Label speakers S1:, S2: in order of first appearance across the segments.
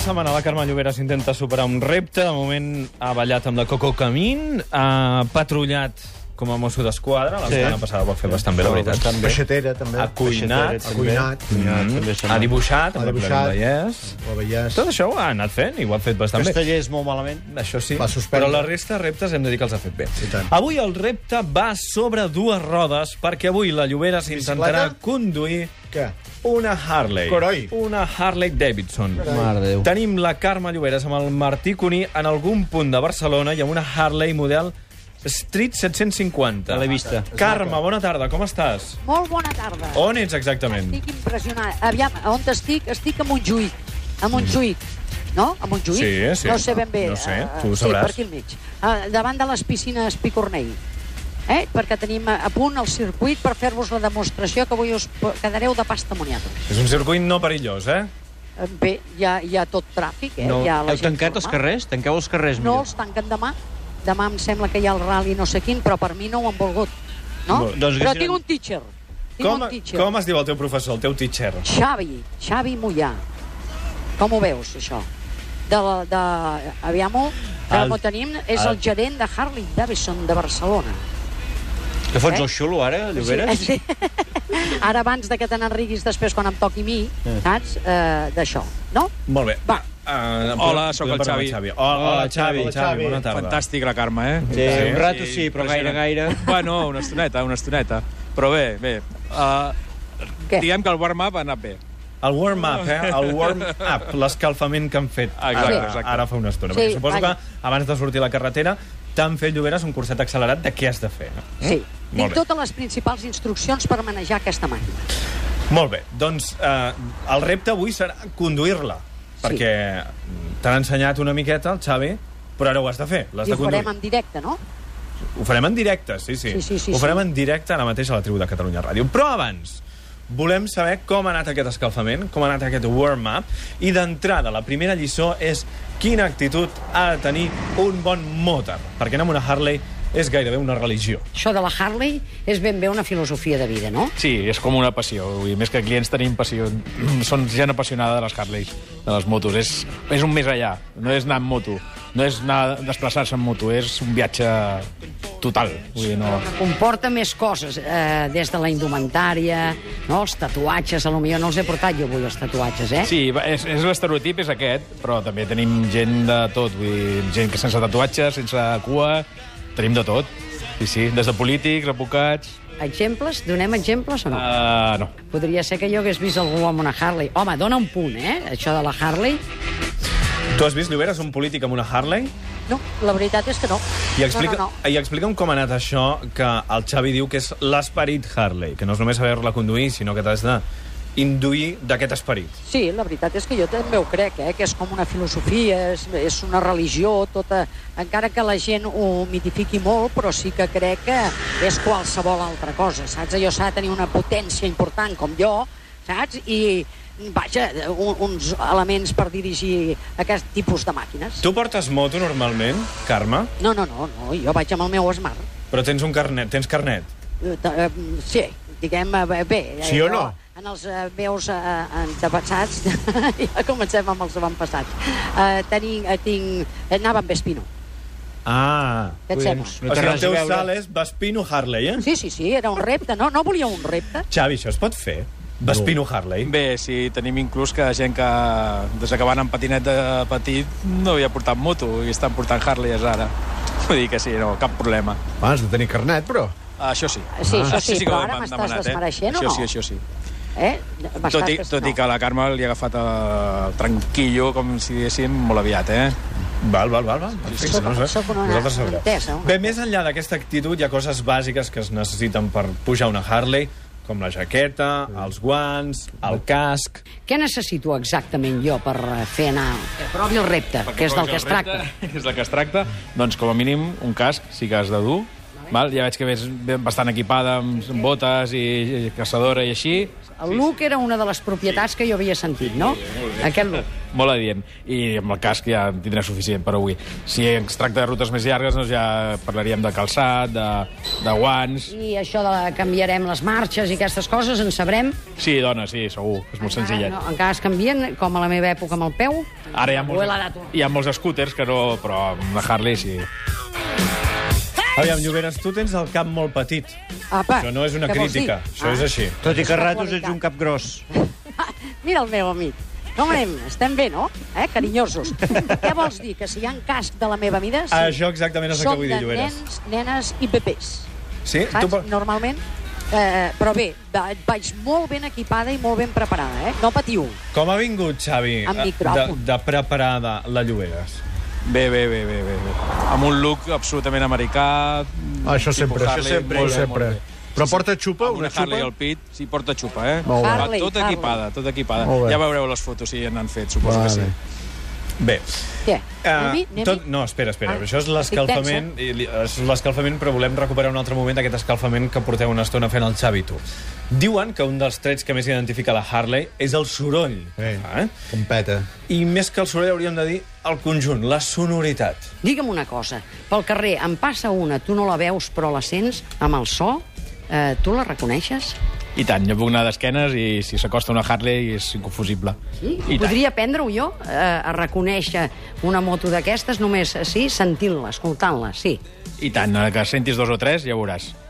S1: setmana la Carme Lloberes intenta superar un repte. De moment ha ballat amb la Coco Camín, ha patrullat com a mosso d'esquadra. La
S2: Sí.
S1: setmana passada ho va fer bastant bé, la veritat.
S2: Bastant bé.
S3: Peixatera, també.
S1: Ha cuinat.
S3: Ha cuinat.
S2: també
S1: Mm.
S2: se
S1: Ha
S2: m'ha-
S1: dibuixat.
S3: Ha
S1: amb el
S3: dibuixat.
S1: Clarín Vallès.
S3: La Vallès.
S1: Tot això ho ha anat fent i ho ha fet bastant bé.
S2: Casteller és molt malament.
S1: Això sí,
S3: Va
S1: però
S3: suspendre.
S1: la resta de reptes hem de dir que els ha fet bé.
S3: I tant.
S1: Avui el repte va sobre dues rodes, perquè avui la Llobera s'intentarà
S3: Bicicleta?
S1: conduir
S3: Què?
S1: una Harley.
S3: Coroi.
S1: Una Harley Davidson.
S4: Mare de Déu.
S1: Tenim la Carme Lloberes amb el Martí Cuní en algun punt de Barcelona i amb una Harley model Street 750.
S2: A la vista.
S1: Carme, bona tarda, com estàs?
S5: Molt bona tarda.
S1: On ets exactament?
S5: Estic impressionat. Aviam, on estic? Estic a Montjuïc. A Montjuïc. No? A Montjuïc?
S1: Sí, sí.
S5: No sé ben bé.
S1: No sé,
S5: eh,
S1: tu ho
S5: sí,
S1: sabràs.
S5: per aquí al mig. Eh, davant de les piscines Picornell. Eh? Perquè tenim a a punt el circuit per fer-vos la demostració que avui us po- quedareu de pasta moniato.
S1: És un circuit no perillós, eh?
S5: Eh, Bé, hi ha, hi ha tot tràfic, eh?
S2: No.
S5: Hi ha la
S4: Heu
S5: gent
S4: tancat els
S5: formal.
S4: carrers? Tanqueu els carrers,
S5: No,
S4: millor.
S5: els tanquen demà. Demà em sembla que hi ha el rally no sé quin, però per mi no ho han volgut. No?
S2: Bo, doncs
S5: però
S2: haguessin-
S5: tinc un teacher. Tinc
S1: Com,
S5: un teacher.
S1: com es diu el teu professor, el teu teacher?
S5: Xavi, Xavi Mollà. Com ho veus, això? De, la- de, aviam-ho, que
S2: El-
S5: el, tenim, és el,
S2: el-
S5: gerent de Harley Davidson de Barcelona.
S2: Que fots
S5: Eh?
S2: el xulo, ara, Lloberes?
S5: Sí. Ara, abans de que te n'enriguis després, quan em toqui a mi, saps, eh, d'això, no?
S1: Molt bé.
S5: Va.
S1: Uh,
S6: Hola, sóc el Xavi.
S1: Hola,
S2: Hola,
S1: Xavi. Hola,
S2: Xavi.
S1: Xavi, bona tarda.
S6: Fantàstic, la Carme, eh?
S2: Sí,
S1: Sí,
S2: un rato sí, però gaire,
S6: impressionant.
S2: gaire.
S6: Bueno, una estoneta, una estoneta. Però bé, bé. Uh,
S5: Què?
S6: diguem que el warm-up ha anat bé.
S1: El warm-up, eh? El warm-up, l'escalfament que han fet
S6: Exacte,
S1: ara,
S6: exacte.
S1: ara fa una estona.
S5: Sí,
S1: perquè suposo
S5: vaja.
S1: que abans de sortir a la carretera t'han fet lloberes un curset accelerat de què has de fer.
S5: Sí.
S1: Eh? Molt
S5: Tinc
S1: bé.
S5: totes les principals instruccions per manejar aquesta màquina.
S1: Molt bé, doncs eh, el repte avui serà conduir-la, perquè t'han ensenyat una miqueta el Xavi, però ara ho has de fer, l'has
S5: I
S1: de
S5: ho
S1: conduir.
S5: farem en directe, no?
S1: Ho farem en directe, sí, sí.
S5: Sí, sí, sí,
S1: ho farem
S5: sí.
S1: en directe ara mateix a la tribu de Catalunya Ràdio. Però abans, volem saber com ha anat aquest escalfament, com ha anat aquest warm-up, i d'entrada, la primera lliçó és quina actitud ha de tenir un bon motor, perquè anar amb una Harley és gairebé una religió.
S7: Això de la Harley és ben bé una filosofia de vida, no?
S8: Sí, és com una passió. Vull dir, més que clients tenim passió. Són gent apassionada de les Harleys, de les motos. És, és un més allà. No és anar amb moto. No és anar desplaçar-se amb moto. És un viatge total. Vull dir, no...
S7: Comporta més coses, eh, des de la indumentària, no? els tatuatges, a lo millor no els he portat jo avui els tatuatges, eh?
S8: Sí, va- és, és l'estereotip és aquest, però també tenim gent de tot. Vull dir, gent que sense tatuatges, sense cua... Tenim de tot. Sí, sí, des de polítics, advocats...
S7: Exemples? Donem exemples o no?
S1: Ah.
S8: Uh, no.
S7: Podria ser que jo hagués vist algú amb una Harley. Home, dona un punt, eh? Això de la Harley.
S1: Tu has vist, Lloberes, un polític amb una Harley?
S5: No, la veritat és que no.
S1: I, explica,
S5: No, no, no.
S1: I explica'm com ha anat això que el Xavi diu que és l'esperit Harley, que no és només saber-la conduir, sinó que t'has de induir d'aquest esperit.
S5: Sí, la veritat és que jo també ho crec, eh, que és com una filosofia, és, és una religió, tota... encara que la gent ho mitifiqui molt, però sí que crec que és qualsevol altra cosa, saps? Allò s'ha de tenir una potència important com jo, saps? I, vaja, un, uns elements per dirigir aquest tipus de màquines.
S1: Tu portes moto normalment, Carme,
S5: No, no, no, no, jo vaig amb el meu Smart.
S1: però tens un carnet, tens carnet.
S5: Eh, t- eh, Sí, diguem, eh, bé... eh,
S3: Sí o
S5: jo-
S3: no?
S5: En els eh, meus eh, antepassats, ja comencem amb els avantpassats, eh, tenim, eh, tinc, anava amb Vespino,
S1: Ah,
S5: què et sembla?
S1: o sigui, el
S2: res a
S1: teu
S2: veure.
S1: salt és Vespino Harley, eh?
S5: Sí, sí, sí, era un repte, no, no volia un repte.
S1: Xavi, això es pot fer? Vespino Harley?
S6: Bé, sí, tenim inclús que gent que des que van amb patinet de petit no havia portat moto i estan portant Harleys ara. Vull dir que sí, no, cap problema.
S3: Va, Ah, has de tenir carnet, però.
S6: Això sí.
S5: Sí, això sí,
S6: que
S5: però
S6: ho
S5: ara
S6: hem
S5: m'estàs
S6: demanat,
S5: desmereixent o
S6: eh?
S5: no?
S6: Això sí, això sí.
S5: Eh?
S6: Tot i, tot i que la Carme li ha agafat eh, tranquillo, com si diguéssim, molt aviat, eh?
S1: Val, val, val. val. Perfecte,
S5: Soc-
S1: no sé.
S5: soc una
S1: Vosaltres sabreu.
S5: entesa, una
S1: Bé, més enllà d'aquesta actitud, hi ha coses bàsiques que es necessiten per pujar una Harley, com la jaqueta, els guants, el casc...
S7: Què necessito exactament jo per eh, fer anar... Que provi el repte, que és del que es tracta.
S8: És del que es tracta. Doncs, com a mínim, un casc sí que has de dur. Val? Ja veig que ves bastant equipada amb amb botes i, i caçadora i així.
S7: El look era una de les propietats que jo havia sentit, no? Aquest look.
S8: Molt adient. I amb el casc ja en tindrà suficient per avui. Si es tracta de rutes més llargues, doncs ja parlaríem de calçat, de, de guants...
S7: I això de la- canviarem les marxes i aquestes coses, en sabrem.
S8: Sí, dona, sí, segur. És molt senzillet.
S7: No, encara es canvien, com a la meva època amb el peu.
S8: Ara hi ha
S7: Ho he heretat.
S8: molts, hi ha molts scooters que no... Però amb la Harley sí.
S1: Aviam, Lloberes, tu tens el cap molt petit.
S5: Apa,
S1: Això no és una
S5: què vols
S1: crítica,
S5: dir? Ah,
S1: això és així.
S2: Tot i que
S5: Aquesta
S2: a ratos ets
S5: qualitat.
S2: un cap gros.
S5: Mira el meu amic. Com anem? Estem bé, no? Eh, carinyosos. Què vols dir? Que si hi ha un casc de la meva mida... Sí.
S1: Ah, Això exactament és el que vull dir, Lloberes.
S5: Som de nens, nenes i bebès.
S1: Sí?
S5: Saps?
S1: Tu, pa-
S5: Normalment. Eh, però bé, va- vaig molt ben equipada i molt ben preparada, eh? No patiu.
S1: com ha vingut, Xavi,
S5: Amb
S1: eh, de,
S5: micròfon.
S1: de preparada la Lloberes?
S6: Bé, bé, bé, bé, bé. bé. Amb un look absolutament americà.
S3: Ah, Això sempre,
S6: tipus
S3: això
S6: Harley,
S3: sempre,
S6: molt bé,
S3: sempre.
S6: molt bé.
S3: Però porta xupa,
S6: Amb
S3: una
S6: una Harley
S3: xupa?
S6: al pit, sí, porta xupa, eh?
S3: Molt bé.
S5: Harley,
S6: tot
S5: Harley.
S6: equipada, tot equipada.
S3: Molt bé.
S6: Ja veureu les fotos si ja n'han fet, suposo que sí.
S3: Vale.
S1: Bé,
S5: Què?
S1: eh,
S5: anem-hi? Anem-hi?
S1: tot, no, espera, espera,
S5: Ah,
S1: això és
S5: estic
S1: l'escalfament, i li- és l'escalfament, però volem recuperar un altre moment d'aquest escalfament que porteu una estona fent el Xavi, tu. Diuen que un dels trets que més identifica la Harley és el soroll.
S3: Eh.
S1: Eh?
S3: Competa.
S1: I més que el soroll hauríem de dir el conjunt, la sonoritat.
S7: Digue'm una cosa, pel carrer en passa una, tu no la veus però la sents amb el so, eh, tu la reconeixes?
S8: I tant, jo puc anar d'esquenes i si s'acosta una Harley és inconfusible.
S7: Sí?
S8: I tant.
S7: Podria aprendre-ho jo, eh, a reconèixer una moto d'aquestes només eh, sí, sentint-la, escoltant-la, sí.
S8: I tant, eh, que sentis dos o tres ja ho veuràs.
S5: Eh?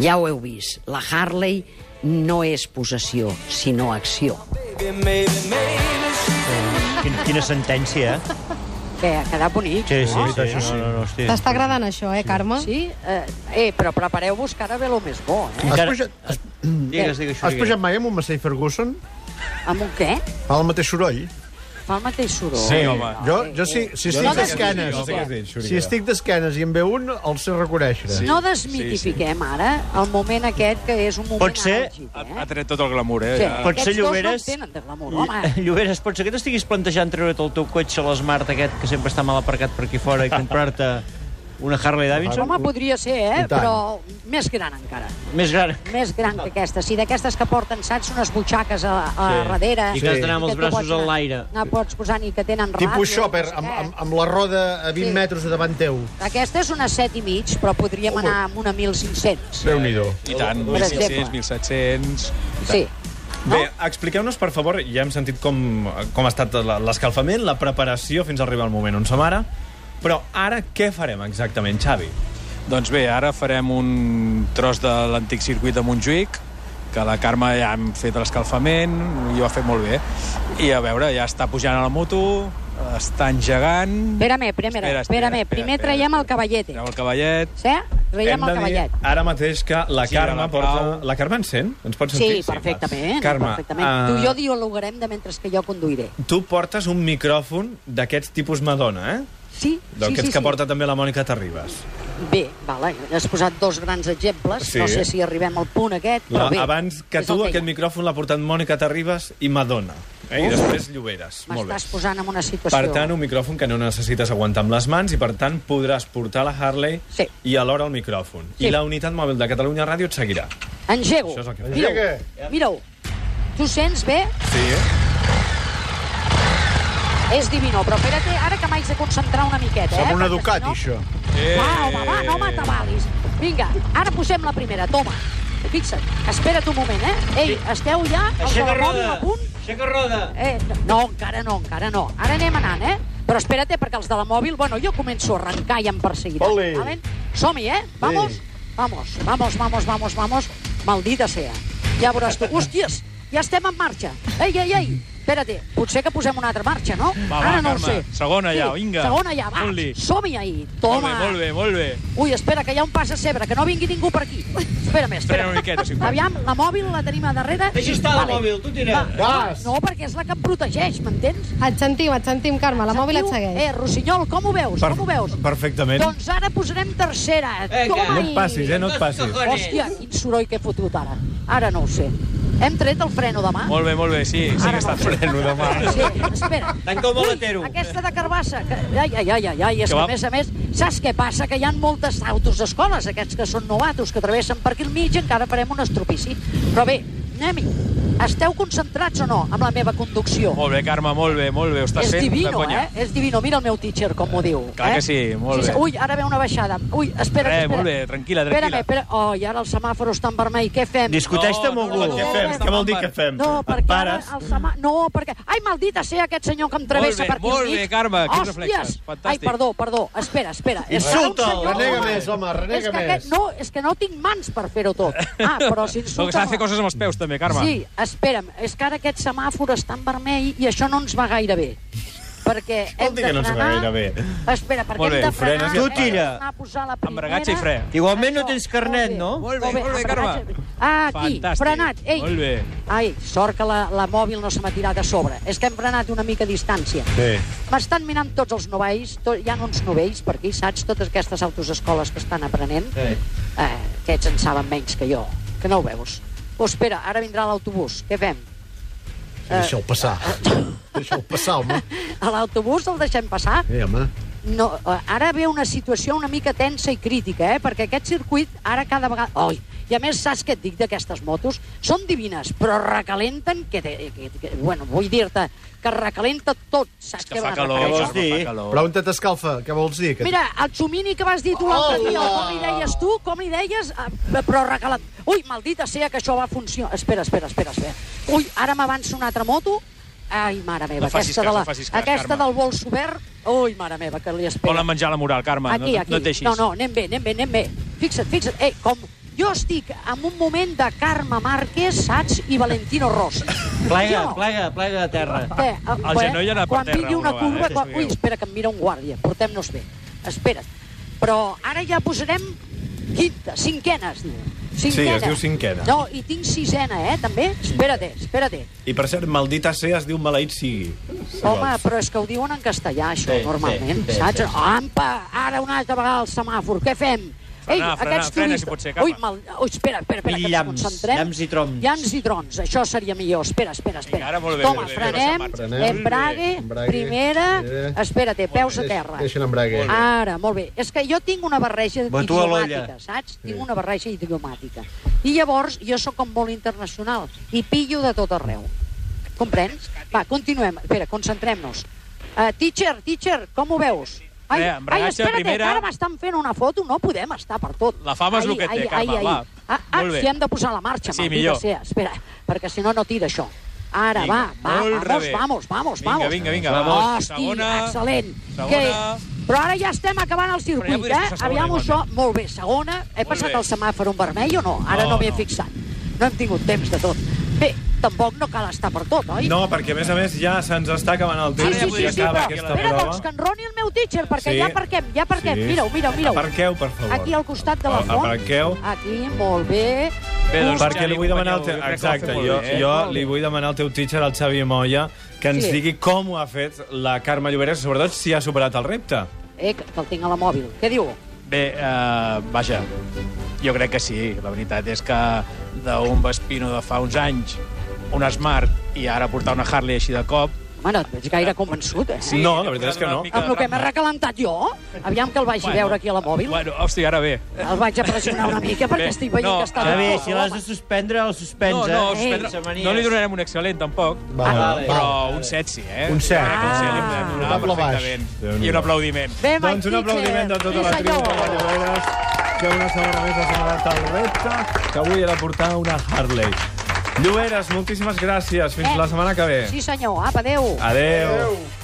S7: Ja ho heu vist, la Harley no és possessió, sinó acció.
S2: Quin, quina sentència, eh?
S5: Què? Ha quedat bonic.
S2: Sí, sí, Ah, sí, sí. No, no, no, hosti.
S4: T'està agradant això, eh, Carme?
S5: Sí? Eh, eh, però prepareu-vos que ara ve lo més bo, eh?
S3: Has
S2: Encara-
S3: pujat, has,
S2: Digues, digues,
S3: has
S2: digues.
S3: pujat mai amb un Massey Ferguson?
S5: Amb un què?
S3: Fa el mateix soroll?
S5: Fa el mateix soroll. Eh,
S8: Sí, home.
S3: Jo, jo sí, si
S1: Jo sé què
S3: estic
S1: dir,
S3: d'esquenes...
S1: jo sé què dir, Xuriguera.
S3: Si estic d'esquenes i en ve un, el sé reconèixer.
S5: No desmitifiquem ara el moment aquest que és un moment
S2: Pot ser-
S5: àlgid,
S6: Ha,
S5: eh?
S6: ha tret tot el glamour, eh?
S5: Sí.
S6: Ja.
S2: Pot ser
S5: Aquests dos no
S2: Lloberes?
S5: en tenen de glamour, home.
S2: Lloberes, pot ser que t'estiguis plantejant treure't el teu cotxe, l'esmart aquest que sempre està mal aparcat per aquí fora i comprar-te una Harley Davidson?
S5: Home, podria ser, eh?
S3: I tant.
S5: Però més gran encara.
S2: Més gran.
S5: Més gran que aquesta. Sí, d'aquestes que porten, saps, unes butxaques a, a sí. darrere.
S2: I que has d'anar amb
S5: I
S2: els
S5: tu
S2: braços
S5: pots anar-
S2: en l'aire.
S5: No pots posar ni que tenen ràdio.
S3: Tipus shopper,
S5: no sé
S3: amb,
S5: què.
S3: amb, amb la roda a 20
S5: Sí.
S3: sí. metres de davant teu.
S5: Aquesta és una 7 i mig, però podríem Home. anar amb una 1.500.
S3: Déu-n'hi-do.
S5: Eh,
S6: I tant,
S5: Per exemple.
S6: 1.500, 1.700... i tant.
S5: Sí. No?
S1: Bé, expliqueu-nos, per favor, ja hem sentit com, com ha estat la- l'escalfament, la preparació fins a arribar al moment on som ara, però ara què farem exactament, Xavi?
S6: Doncs bé, ara farem un tros de l'antic circuit de Montjuïc, que la Carme ja hem fet l'escalfament i ho ha fet molt bé. I a veure, ja està pujant a la moto, està engegant...
S5: Espérame, primera, espera, espera, espera, Primer traiem el cavallete.
S6: Treu el cavallet.
S5: Sí? Traiem el cavallet.
S1: ara mateix que la
S6: Sí,
S1: Carme
S6: la Pau.
S1: porta... La Carme ens sent? Ens pots sentir?
S5: Sí, perfectament.
S1: Carme,
S5: perfectament.
S1: eh,
S5: Tu i jo dialogarem de mentre que jo conduiré.
S1: Tu portes un micròfon d'aquests tipus Madonna, eh?
S5: Sí, sí,
S1: D'aquests
S5: sí.
S1: que
S5: sí.
S1: porta també la Mònica Terribas.
S5: Bé, vale, has posat dos grans exemples.
S1: Sí.
S5: No sé si arribem al punt aquest, però
S1: La,
S5: bé.
S1: abans que
S5: és
S1: tu,
S5: el hi ha.
S1: aquest micròfon l'ha portat Mònica Terribas i Madonna. Eh? I després Lloberes. Molt bé.
S5: M'estàs posant en una situació...
S1: Per tant, un micròfon que no necessites aguantar amb les mans i, per tant, podràs portar la Harley
S5: Sí.
S1: i alhora el micròfon.
S5: Sí.
S1: I la unitat mòbil de Catalunya Ràdio et seguirà.
S5: Engego.
S1: Això és el que fa.
S5: Mira-ho. Mira tu sents bé?
S1: Sí, eh?
S5: És divino, però espera't, ara que m'haig de concentrar una miqueta, eh?
S3: Amb una
S5: perquè si
S3: Ducati,
S5: no-
S3: això.
S5: Va, home, va, no m'atabalis. Vinga, ara posem la primera, toma. Fixa't, espera't un moment, eh? Ei, esteu ja els de
S2: Aixeca
S5: la mòbil
S2: roda!
S5: a punt?
S2: Aixeca roda!
S5: Eh, no, encara no, encara no. Ara anem anant, eh? Però espera't, eh, perquè els de la mòbil, bueno, jo començo a arrencar i em perseguiran.
S3: Ole.
S5: Valen? Som-hi, eh? Vamos, vamos, vamos, vamos, vamos, vamos. Maldita sea. Ja veuràs tu. Hòsties, ja estem en marxa. Ei, ei, ei, espera't, potser que posem una altra marxa, no?
S6: Va, va,
S5: Ara no ho
S6: Carme,
S5: sé.
S6: segona ja, vinga.
S5: Segona ja, va.
S6: Fot-li.
S5: Som-hi ahir.
S6: Molt
S5: Toma.
S6: bé, molt bé, molt bé.
S5: Ui, espera, que hi ha un pas a cebre, que no vingui ningú per aquí. Espera'm,
S6: Espera
S5: espera.
S6: una miqueta, si pot.
S5: Aviam, la mòbil la tenim a darrere.
S2: Deixa estar la mòbil, tu tira.
S5: Va, no, perquè és la que em protegeix, m'entens?
S4: Et sentim, et sentim, Carme. La mòbil et
S5: Sentiu?
S4: segueix.
S5: Eh, Rossinyol, com ho veus? Com ho veus?
S1: Perfectament.
S5: Doncs ara posarem tercera.
S2: Vinga.
S5: Toma
S6: eh?
S5: Doncs,
S1: No et passis, eh? No et passis.
S5: Hòstia, quin soroll que he fotut ara. Ara no ho sé. Hem tret el freno de mà.
S6: Molt bé, molt bé, sí, sí
S5: Ara
S6: que està
S5: no.
S6: fent.
S5: Sí, espera.
S2: Tanca el
S5: Ui,
S2: maletero.
S5: aquesta de Carbassa. Que... Ai, ai, ai, ai, ai, és
S6: Que
S5: que,
S6: va-
S5: a més a més, saps què passa? Que hi ha moltes autos d'escoles, aquests que són novatos, que travessen per aquí al mig, encara farem un estropici. Però bé, anem-hi. Esteu concentrats o no amb la meva conducció?
S6: Molt bé, Carme, molt bé, molt bé. Ho estàs
S5: és
S6: fent de
S5: divino,
S6: conya.
S5: eh? És divino. Mira el meu teacher com ho diu.
S6: clar
S5: eh?
S6: que sí, molt bé.
S5: Ui, ara ve una baixada. Ui, espera,
S6: Eh,
S5: espera.
S6: molt bé, tranquil·la,
S5: Espera,
S6: tranquil·la.
S5: espera. Oh, i ara el semàfor està en vermell. Què fem?
S2: Discuteix-te amb algú.
S6: no,
S1: Què
S5: no,
S1: fem?
S5: no,
S1: Què vol dir què fem?
S5: doncs, No, perquè
S1: Pares?
S5: ara el semà... No, perquè... Ai, maldita ser aquest senyor que em travessa
S6: Molt bé,
S5: per aquí al
S6: molt
S5: mig.
S6: bé, Carme, quins
S5: Hòsties!
S6: reflexes, fantàstic.
S5: Ai, perdó, perdó. Espera, espera. És que
S1: Insulta'l!
S5: un senyor-
S3: Renega més, home, renega
S5: és que
S3: més.
S5: Aquest... No, és que no tinc mans per fer-ho tot. Ah, però si
S6: El que
S5: insulta...
S6: s'ha de fer coses amb els peus, també, Carme.
S5: Sí, espera'm. És que ara aquest semàfor està en vermell i això no ens va gaire bé. Perquè
S1: Vol
S5: hem
S1: dir
S5: de
S1: que no ens va
S5: frenar...
S1: gaire bé.
S5: Espera, perquè
S6: Molt bé,
S5: hem de
S1: frenes
S5: frenar...
S1: i
S5: hem
S2: et pares.
S5: de tornar a posar la primera...
S6: Embragatge i fre.
S2: Igualment no
S5: Això,
S2: tens carnet,
S5: molt bé.
S2: no?
S6: Molt bé, molt bé,
S5: embragatge.
S6: Carme.
S5: Ah, aquí,
S6: Fantàstic.
S5: frenat. Ei.
S6: Molt bé.
S5: Ai, sort que la, la mòbil no se m'ha tirat a sobre. És que hem frenat una mica a distància.
S1: Sí.
S5: M'estan mirant tots els novells, to, hi ha uns novells per aquí, saps? Totes aquestes autosescoles que estan aprenent. Eh. Eh, aquests en saben menys que jo, que no ho veus. Oh, espera, ara vindrà l'autobús. Què fem?
S3: Deixa'l passar. Deixa'l passar, home.
S5: A l'autobús el deixem passar?
S3: Eh, home.
S5: No, eh, ara ve una situació una mica tensa i crítica, eh? perquè aquest circuit ara cada vegada... Oi, i a més, saps què et dic d'aquestes motos? Són divines, però recalenten que... Te, que, que bueno, vull dir-te que recalenta tot, saps
S6: Que
S5: què
S6: fa
S5: van
S6: calor,
S5: requerir?
S2: vols
S6: Carme,
S2: dir?
S6: fa calor.
S3: Però on te t'escalfa? Què vols dir? Que...
S5: Mira, el xumini que vas dir tu l'altre dia, com li deies tu, com li deies, eh, però recalat... Ui, maldita sea que això va funcionar. Espera, espera, espera, espera. Ui, ara m'avança una altra moto. Ai, mare meva,
S6: No facis
S5: aquesta,
S6: cas,
S5: de la,
S6: no facis cas,
S5: aquesta
S6: Carme.
S5: del bols obert... Ui, mare meva, que li espera.
S6: Volen menjar la moral, Carme,
S5: Aquí,
S6: no,
S5: aquí.
S6: no et deixis.
S5: No, no, anem bé, anem bé, anem bé. Fixa't, fixa't. Eh, com jo estic en un moment de Carme Márquez, saps, i Valentino Rossi.
S2: Plega,
S5: Jo,
S2: plega, plega a terra.
S5: Eh, eh,
S6: El genoll ha anat per
S5: quan
S6: terra
S5: vingui una
S6: una vegada,
S5: curva...
S6: eh,
S5: Quan...
S6: si
S5: Ui,
S6: veieu.
S5: espera, que em mira un guàrdia. Portem-nos bé. Espera't. Però ara ja posarem quinta, cinquena, es diu. Cinquena.
S1: es diu cinquena.
S5: No, i tinc sisena, eh, també. Espera't, espera't.
S1: I per cert, maldita sea es diu maleït sigui. Si
S5: Home, doncs.
S1: vols.
S5: però és que ho diuen en castellà, això,
S2: Sí,
S5: normalment,
S2: sí, sí,
S5: saps?
S2: sí,
S5: Ampa, ara una altra vegada el semàfor, què fem?
S6: Frenar, frenar, frena, si pot ser, Carme.
S5: Ui, mal... Ui, espera, espera, espera,
S2: I
S5: que ens
S2: llamps,
S5: concentrem.
S2: llamps i trons.
S5: Llams i trons, això seria millor. Espera, espera, espera.
S6: Vinga, ara molt bé,
S5: Toma,
S6: bé, bé,
S5: frenem,
S6: bé,
S3: bé, bé.
S5: embrague,
S3: Embrague,
S5: primera,
S2: eh.
S3: primera.
S5: espera't, peus a terra. Ah.
S3: Deixa'l en brague.
S5: Ara, molt bé. És que jo tinc una barreja
S2: Batua
S5: idiomàtica,
S2: l'olla.
S5: saps? Tinc una barreja idiomàtica. I llavors jo sóc com molt internacional i pillo de tot arreu. Comprens? Va, continuem. Espera, concentrem-nos. Uh, teacher, teacher, com ho veus? Ai,
S6: Bé,
S5: ai,
S6: embragatge,
S5: espera't,
S6: primera.
S5: que ara m'estan fent una foto, no podem estar per tot.
S6: La fama és
S5: Ai,
S6: lo que té,
S5: ai,
S6: Carme,
S5: ai,
S6: va.
S5: ai. Ah, ah
S6: Molt bé.
S5: si hem de posar la marxa,
S6: Sí,
S5: maldita
S6: millor.
S5: Sea. Espera, perquè si no, no tira això. Ara,
S6: Vinga,
S5: va, va,
S6: molt
S5: vamos,
S6: revés.
S5: vamos, vamos,
S6: Vinga,
S5: vamos.
S6: vinga, vinga,
S5: Hosti,
S6: vamos. Segona.
S5: excel·lent.
S6: Segona.
S5: Que... Però ara ja estem acabant el
S6: ja
S5: circuit,
S6: podries
S5: eh?
S6: passar segona,
S5: Aviam
S6: igualment.
S5: això. Molt bé, segona. He passat
S6: bé.
S5: el semàfor en vermell o no? Ara
S6: No,
S5: no, m'hi he
S6: no.
S5: fixat. No hem tingut temps de tot. Bé, tampoc no cal estar per tot, oi?
S1: No, perquè a més a més ja se'ns està acabant el
S5: Sí,
S1: temps.
S5: sí,
S1: i
S5: sí, sí,
S1: acaba
S5: però
S1: aquesta
S5: espera,
S1: prova.
S5: doncs, que enroni el meu teacher, perquè
S1: Sí.
S5: ja aparquem, ja aparquem.
S1: Sí. doncs.
S5: Mireu, mireu, mireu.
S1: Aparqueu, per favor.
S5: Aquí al costat de la
S1: A-
S5: font.
S1: Aparqueu.
S5: Aquí, molt bé.
S6: Bé, doncs,
S1: Perquè
S6: Xavi,
S1: li vull demanar... El te...
S6: companyeu, jo crec que ho ha fet
S1: Exacte,
S6: molt
S1: jo,
S6: bé, eh?
S1: jo li vull demanar al teu teacher, al Xavi Moya, que ens
S5: Sí.
S1: digui com ho ha fet la Carme Lloberes, sobretot si ha superat el repte.
S5: Eh, que que el tinc a la mòbil. Què diu?
S6: Bé, eh, vaja, jo crec que sí. La veritat és que d'un Vespino de fa uns anys, un Smart, i ara portar una Harley així de cop...
S5: Home, no et veig gaire convençut, eh?
S1: No, la veritat és que no.
S5: Amb el que m'he recalentat jo? Aviam que el vagi veure aquí a la mòbil.
S6: Bueno, hòstia, ara bé.
S5: El vaig a pressionar una mica perquè
S6: Bé,
S5: estic veient
S6: no,
S5: que està...
S2: Xavi,
S5: bé,
S2: si l'has de suspendre, el suspens,
S6: No, no,
S2: eh?
S6: suspendre-
S2: Sense manies.
S6: no li donarem un excel·lent, tampoc.
S3: Va, va,
S2: vale.
S3: va.
S6: Però un set sí, eh?
S3: Un set.
S6: Jo crec
S1: Ah.
S6: que Un set li podem donar
S3: Notable baix.
S6: perfectament.
S1: Déu-n'hi-do.
S6: I un aplaudiment.
S5: Bé, Mike
S1: Doncs un
S5: Titcher.
S1: aplaudiment de tota
S5: Sí,
S1: la tribu
S5: senyor.
S1: de Lloberes, que una segona més ha superat el repte, que avui era portar una Harley. Lloberes, moltíssimes gràcies. Fins
S5: Eh.
S1: la setmana que ve.
S5: Sí, senyor. Apa, adéu.
S1: Adeu.
S3: Adéu.